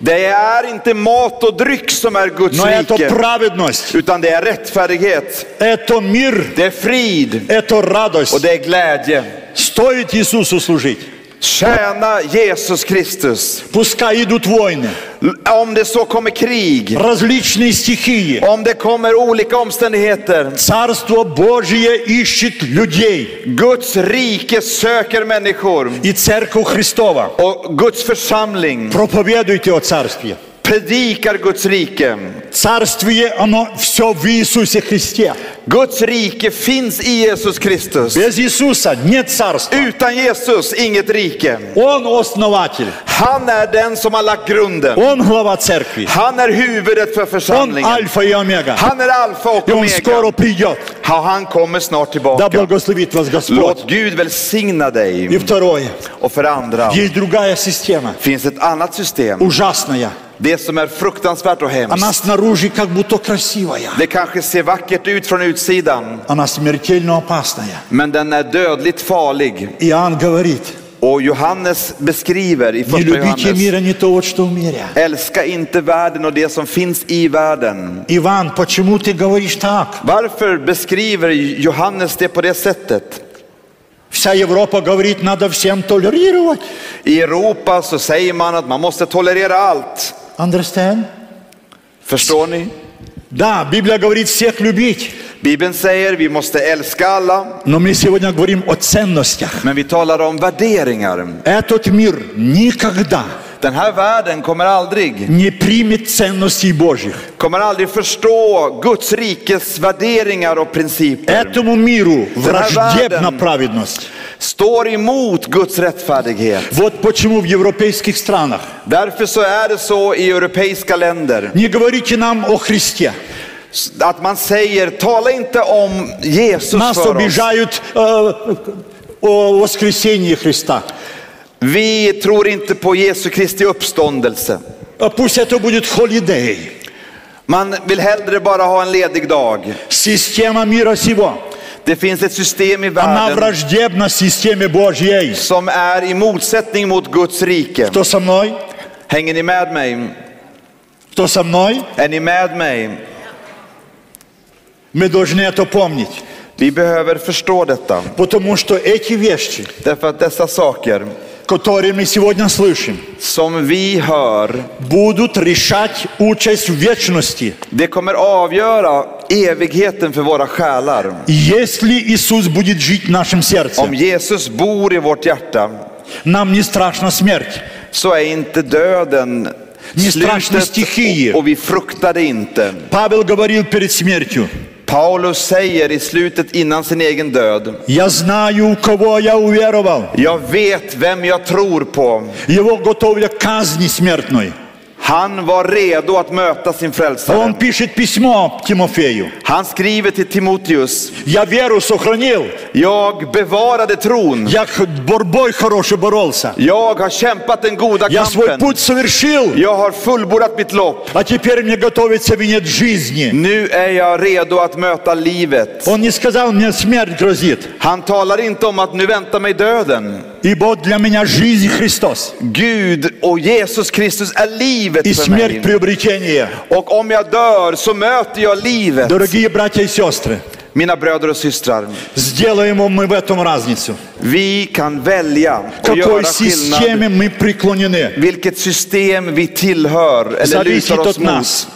Det är inte mat och dryck som är Guds
но это
rike,
праведность,
utan det är rättfärdighet,
это мир,
det är frid
это радость.
och det är glädje.
Стоит Иисусу служить.
Tjäna Jesus Kristus.
Пускай идут войны,
Om det så kommer krig,
различные стихии.
om det kommer olika omständigheter.
Царство Божие ищет людей.
Guds rike söker människor.
И Церковь Христова,
Och Guds församling
проповедуйте о Царстве.
predikar Guds rike.
Царствие, оно все в Иисусе Христе.
Guds rike finns i Jesus Kristus.
Без Иисуса нет царства.
Utan Jesus, inget rike.
Он основатель,
Han är den som har lagt grunden.
он глава церкви,
Han är huvudet för
он
församlingen.
альфа и омега.
Han är alfa och
И он скоро
omega.
придет.
Ja, Han kommer snart
Да
tillbaka.
благословит вас Господь.
Låt Gud välsigna
И
dig.
второе,
Och för andra
есть другая система,
finns ett annat system.
ужасная.
Det som är fruktansvärt och
Она
hemskt.
снаружи как будто красивая.
Det kanske ser vackert ut från utsidan,
Она смертельно опасная.
men den är dödligt farlig.
Иоанн говорит,
Och Johannes beskriver i första
не любите
Johannes,
мира, не то вот что в мире.
älska inte världen och det som finns i världen.
Иван, почему ты говоришь так?
Varför beskriver Johannes det på det sättet?
Вся Европа говорит, надо всем толерировать.
I Europa så säger man att man måste tolerera allt.
Understand?
Förstår ni?
Да, Библия говорит всех любить,
Bibeln säger vi måste älska alla,
но мы сегодня говорим о ценностях.
men vi talar om värderingar.
Этот мир никогда
Den här världen kommer aldrig,
не примет ценностей Божьих.
kommer aldrig förstå Guds rikes värderingar och principer.
Этому миру враждебна праведность.
Står emot Guds rättfärdighet.
Вот почему в европейских странах
Därför så är det så i europeiska länder.
не говорите нам о Христе.
Att man säger, tala inte om Jesus
Нас
för oss.
обижают э, о воскресении Христа.
Vi tror inte på Jesu Kristi uppståndelse.
А Пусть это будет холидей.
Man vill hellre bara ha en ledig dag.
Система мира сего.
Det finns ett system i
Она
världen
враждебна системе Божьей.
som är i motsättning mot Guds rike.
Кто со мной?
Hänger ni med mig?
Кто со мной?
Är ni med mig?
Мы должны это помнить.
Vi behöver förstå detta.
Потому что эти вещи,
Därför att dessa saker
которые мы сегодня слышим,
som vi hör,
будут решать участь в вечности.
det kommer avgöra evigheten för våra själar.
Если Иисус будет жить в нашем
Om
сердце,
Jesus bor i vårt hjärta
нам не страшна смерть.
så är inte döden
Ni strašne stichije.
slutet och, och vi fruktar det inte.
Павел говорил перед смертью,
Paulus säger i slutet innan sin egen död,
«Я знаю, в кого я уверовал».
jag vet vem jag tror på.
Его готовили к казни смертной.
Han var redo att möta sin
Он
frälsare.
пишет письмо Тимофею.
Han skriver till Timoteus,
Я веру сохранил.
jag bevarade tron.
Я х- борьбой хороший боролся.
Jag har kämpat den goda
Я свой
kampen.
путь совершил.
Jag har fullbordat mitt lopp.
А теперь мне готовится венец жизни.
Nu är jag redo att möta livet.
Он не сказал мне, смерть грозит.
Han talar inte om att nu väntar mig döden.
Ибо для меня жизнь Христос.
Gud och Jesus Kristus är
И
livet för mig.
смерть приобретение.
Och om jag dör så möter jag livet.
Дорогие братья и сестры,
Mina bröder och systrar,
сделаем мы в этом разницу.
vi kan välja
К
och göra
какой
skillnad.
системе мы преклонены.
Vilket system vi tillhör eller
Зависит
lutar
от
oss mot.
нас.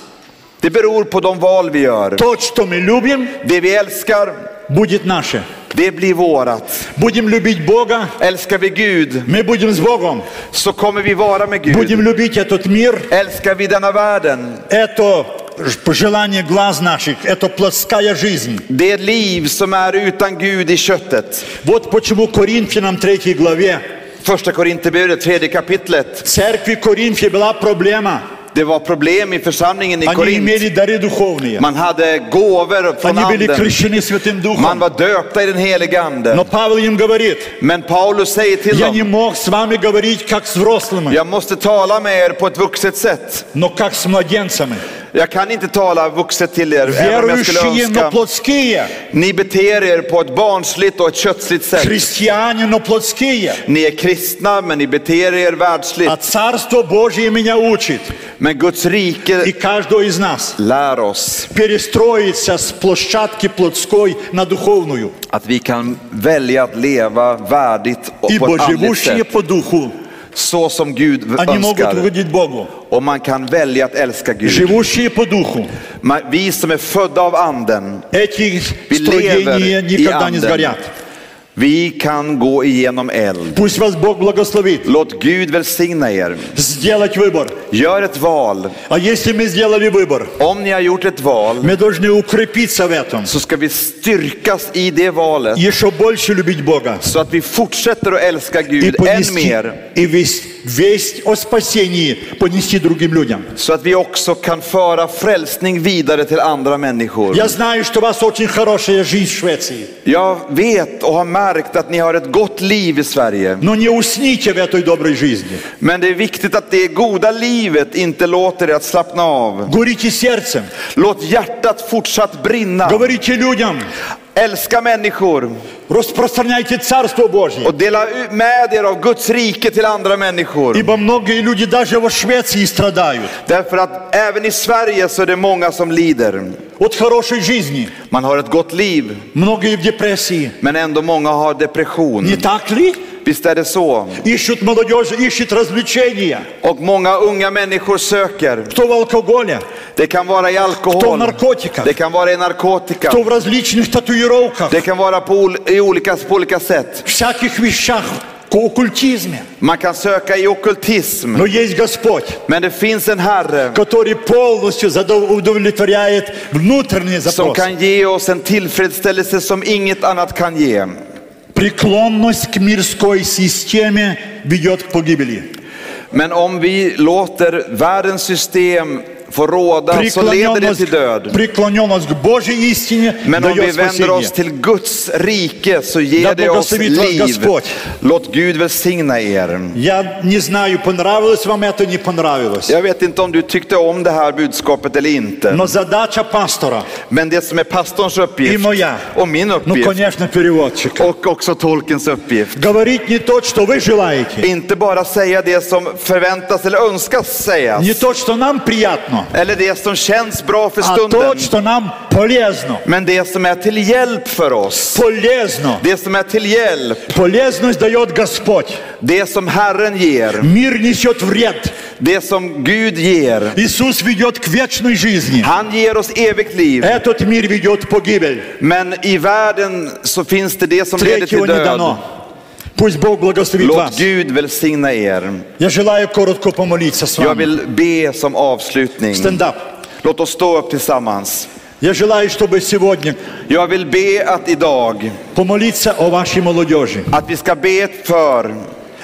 Det beror på de val vi gör.
То, что мы любим,
Det vi älskar,
будет наше.
det blir vårat.
Будем любить Бога,
Älskar vi Gud
мы будем с Богом.
så kommer vi vara med
Будем
Gud.
любить этот мир,
Älskar vi denna världen,
это ж- пожелание глаз наших, это плотская жизнь.
det liv som är utan Gud i köttet.
Вот почему Коринфянам 3 главе,
Första Korinthierbrevet, tredje kapitlet.
в церкви Коринфе была проблема.
Det var problem i församlingen i
Они
Korint.
имели дары духовные.
Man hade gåvor från
Они были
anden.
крещены Святым
Man
Духом.
var döpta i den helige
Но
ande.
Павел им говорит,
Men Paulus säger till
я не
dem,
мог с вами говорить как с взрослыми,
jag måste tala med er på ett vuxet sätt,
но как с младенцами.
Jag kan inte tala vuxet till er, även om jag skulle
Верующие, но
önska.
плотские.
Ni beter er på ett barnsligt och ett kötsligt sätt.
Христиане, но плотские.
Ni är kristna, men ni beter er
А
världsligt.
Царство Божье меня учит,
Men Guds
и
rike
каждого из нас,
lär oss
перестроиться с площадки плотской на духовную.
att vi kan välja att leva värdigt och på
Ибо
ett andligt
живущие
sätt.
по духу,
Så som Gud
они могут
önskar.
угодить Богу.
Och man kan välja att älska Gud.
Живущие по духу,
Man- Vi som är födda av anden,
эти
vi
строения
lever i
никогда не
anden.
сгорят.
Vi kan gå igenom eld.
Пусть вас Бог благословит
Låt Gud välsigna er.
сделать выбор.
Gör ett val.
А если мы сделали выбор,
Om ni har gjort ett val
мы должны укрепиться в этом.
så ska vi styrkas i det valet
Еще больше любить Бога.
så att vi fortsätter att älska
И
Gud än
понести,
mer.
и весть, весть о спасении понести другим людям.
Så att vi också kan föra frälsning vidare till andra människor.
Я знаю, что у вас очень хорошая жизнь в Швеции.
Jag vet och har märkt att ni har ett gott liv i Sverige.
Но не усните в этой доброй жизни.
Men det är viktigt att det goda livet inte låter er att slappna av.
Горите сердцем.
Låt hjärtat fortsatt brinna.
Говорите людям.
Älska människor
Распространяйте Царство Божье.
och dela ut- med er av Guds rike till andra människor.
Ибо многие люди даже во Швеции страдают
Därför att även i Sverige så är det många som lider.
от хорошей жизни.
Man har ett gott liv,
Многие в депрессии.
men ändå många har depression.
Не так ли?
Visst är det så?
Ищут молодежь, ищет развлечения.
Och många unga människor söker.
Кто в алкоголе,
Det kan vara i
кто в
alkohol,
наркотиках,
det kan vara i narkotika,
кто в различных татуировках,
det kan vara på, ol- i olika, på olika sätt.
всяких вещах, к оккультизме.
Man kan söka i okkultism.
Но есть Господь,
Men det finns en Herre
который полностью задов- удовлетворяет внутренний
som
запрос.
kan ge oss en tillfredsställelse som inget annat kan ge.
Преклонность к мирской системе ведет к погибели.
Men om vi låter världens system få råda så leder det till
Преклоненность,
död.
преклоненность к Божьей истине
Men om vi
дает
vänder oss
спасение.
till Guds rike så
Да
ger det oss
благословит вас
liv.
Господь.
Låt Gud välsigna er.
Я не знаю, понравилось вам это, не понравилось.
Jag vet inte om du tyckte om det här budskapet eller inte.
Но задача пастора
Men det som är pastorns
и
uppgift
моя,
och min
ну,
uppgift
конечно, переводчик,
och också tolkens uppgift.
говорить не то, что вы желаете,
Inte bara säga det som förväntas eller önskas sägas.
не то, что нам приятно,
Eller det som känns bra för
а то,
stunden.
что нам полезно.
Men det som är till hjälp för oss.
Полезно.
Det som är till hjälp.
Полезность дает Господь.
Det som Herren ger.
Мир несет вред.
Det som Gud ger.
Иисус ведет к вечной жизни.
Han ger oss evigt liv.
Этот мир ведет в погибель.
Men i världen så finns det det som leder till
Третьего не
död.
дано. Пусть Бог благословит
Låt
вас.
Gud välsigna er.
Я желаю коротко помолиться с
Jag
вами.
vill be som avslutning.
Стендап.
Låt oss stå upp tillsammans.
Я желаю, чтобы сегодня
Jag vill be att idag,
помолиться о вашей молодежи.
att vi ska be för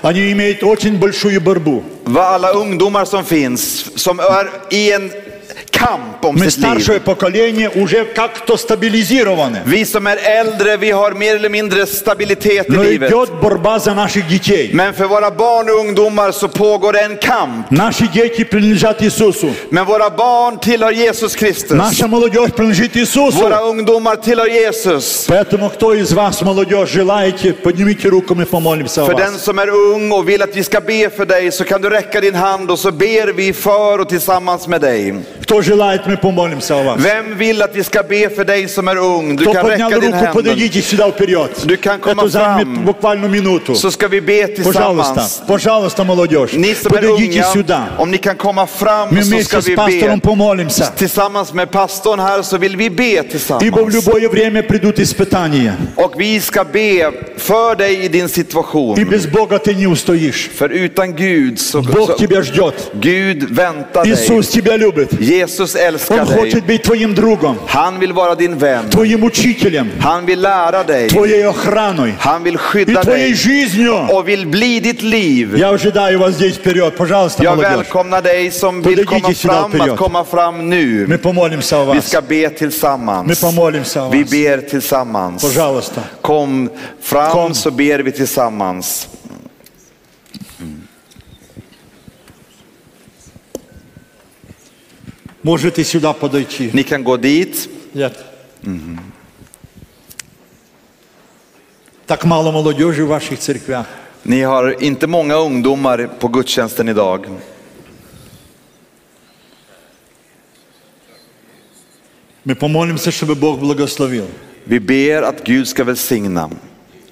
Они имеют очень большую борьбу.
vad alla ungdomar som finns, som är i en kamp om
Мы
sitt liv.
старшее поколение уже как-то стабилизированы.
Vi som är äldre, vi har mer eller mindre stabilitet i
Но
livet.
идет борьба за наших детей.
Men för våra barn och ungdomar så pågår en kamp.
Наши дети принадлежат Иисусу.
Men våra barn tillhör Jesus Kristus.
Наша молодежь принадлежит Иисусу.
Våra ungdomar tillhör Jesus.
Поэтому, кто из вас, молодежь, желаете, поднимите руку, мы помолимся о
För den
вас.
som är ung och vill att vi ska be för dig så kan du räcka din hand och så ber vi för och tillsammans med dig.
Кто желает, мы помолимся о вас.
Vem vill att vi ska be för dig som är ung? Du
Кто
kan
поднял
räcka din
руку,
hand.
подойдите сюда вперед.
Du kan komma
Это займет
fram.
буквально минуту.
Så ska vi be
Пожалуйста,
tillsammans.
пожалуйста, молодежь,
Ni som är
подойдите
unga,
сюда.
om ni kan komma fram
Мы
så ska
вместе
vi
с
be.
пастором помолимся.
Tillsammans med pastorn här så vill vi be
Ибо в
tillsammans.
любое время придут испытания.
Och vi ska be för dig i din
И
situation.
без Бога ты не устоишь.
För utan Gud så...
Бог
så
тебя ждет.
Gud väntar dig.
Иисус тебя любит.
Jesus älskar
Он
dig.
хочет быть твоим другом,
Han vill vara din vän.
твоим учителем,
Han vill lära dig.
твоей охраной
Han vill
и
skydda
твоей
dig
жизнью.
och vill bli ditt liv.
Я ожидаю вас здесь вперед. Пожалуйста,
Jag
молодежь.
välkomnar dig som vill
Подойдите
komma
сюда
fram
вперед.
att komma fram
Мы
nu.
помолимся о
Vi
вас.
ska be
Мы
tillsammans.
помолимся о
Vi
вас.
ber tillsammans.
Пожалуйста.
Kom fram
Kom.
så ber vi tillsammans.
Можете сюда подойти.
Ni kan gå dit.
Нет. Так мало молодежи в ваших церквях.
Ni har inte många ungdomar på gudstjänsten idag.
Мы помолимся, чтобы Бог благословил.
Vi ber att Gud ska välsigna.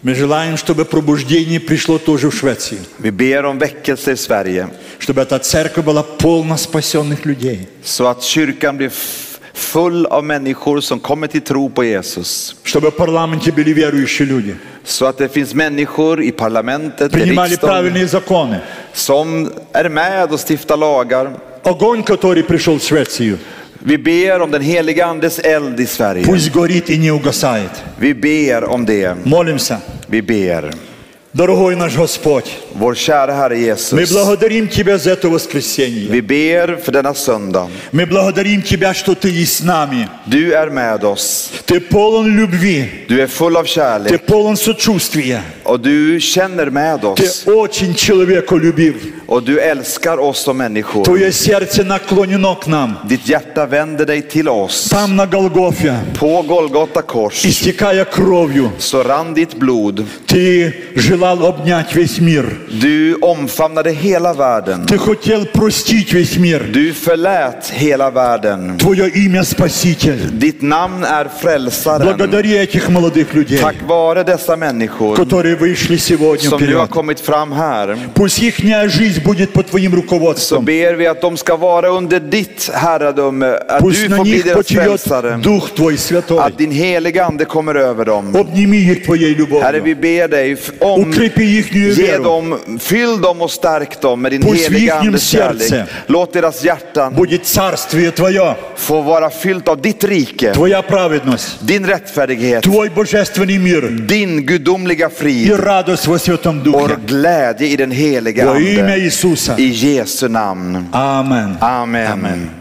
Мы желаем, чтобы пробуждение пришло тоже в Швеции.
Vi ber om väckelse i Sverige
Чтобы эта церковь была полна спасенных людей.
så att kyrkan blir f- full av människor som kommer till tro på Jesus.
Чтобы в парламенте были верующие люди.
Så att det finns människor i parlamentet, i
Принимали
riksdagen,
правильные законы.
som är med och stiftar lagar.
Огонь, который пришел в Швецию,
Vi ber om den heliga andes eld i Sverige.
пусть горит и не угасает.
Vi ber om det.
Молимся.
Vi ber.
Дорогой наш Господь,
Vår kära Herre
мы
Jesus,
благодарим Тебя за это воскресенье.
vi ber för denna söndag.
Мы благодарим Тебя, что Ты и с нами.
Du är med oss.
Ты полон любви,
Du är full av
Ты
kärlek
полон сочувствия.
och du känner med
Ты
oss
очень человеколюбив.
och du älskar oss som människor.
Твое сердце наклонено к нам.
Ditt hjärta vänder dig till oss.
Там на Голгофе,
På Golgata kors
истекая кровью,
så rann ditt blod.
Ты желал обнять весь мир.
Du omfamnade hela världen.
Ты хотел простить весь мир.
Du förlät hela världen.
Твое имя Спаситель.
Ditt namn är frälsaren.
Благодари этих молодых людей,
Tack vare dessa människor
которые вышли сегодня
som nu har
вперед.
kommit fram här
Пусть ихняя жизнь будет под Твоим
så
руководством.
ber vi att de ska vara under ditt herradöme, att
Пусть
du
на
får bli
них
deras
потечет
frälsare,
Дух Твой
att
Святой.
din heliga ande kommer över dem.
Обними их Твоей
Herre, vi
любовью.
ber dig, f- om,
Укрепи их
ge
веру.
dem, fyll dem och stärk dem med din
Puss vid
heliga
ichnim
andes kärlek.
serce.
Låt deras hjärtan
Будет царствие Твое,
få vara fyllt av ditt rike,
Твоя праведность,
din rättfärdighet,
Твой божественный мир
din gudomliga
и
frid
радость во Святом
och
Духе.
glädje i den heliga
Во имя
ande.
Иисуса.
I Jesu namn.
Amen.
Amen.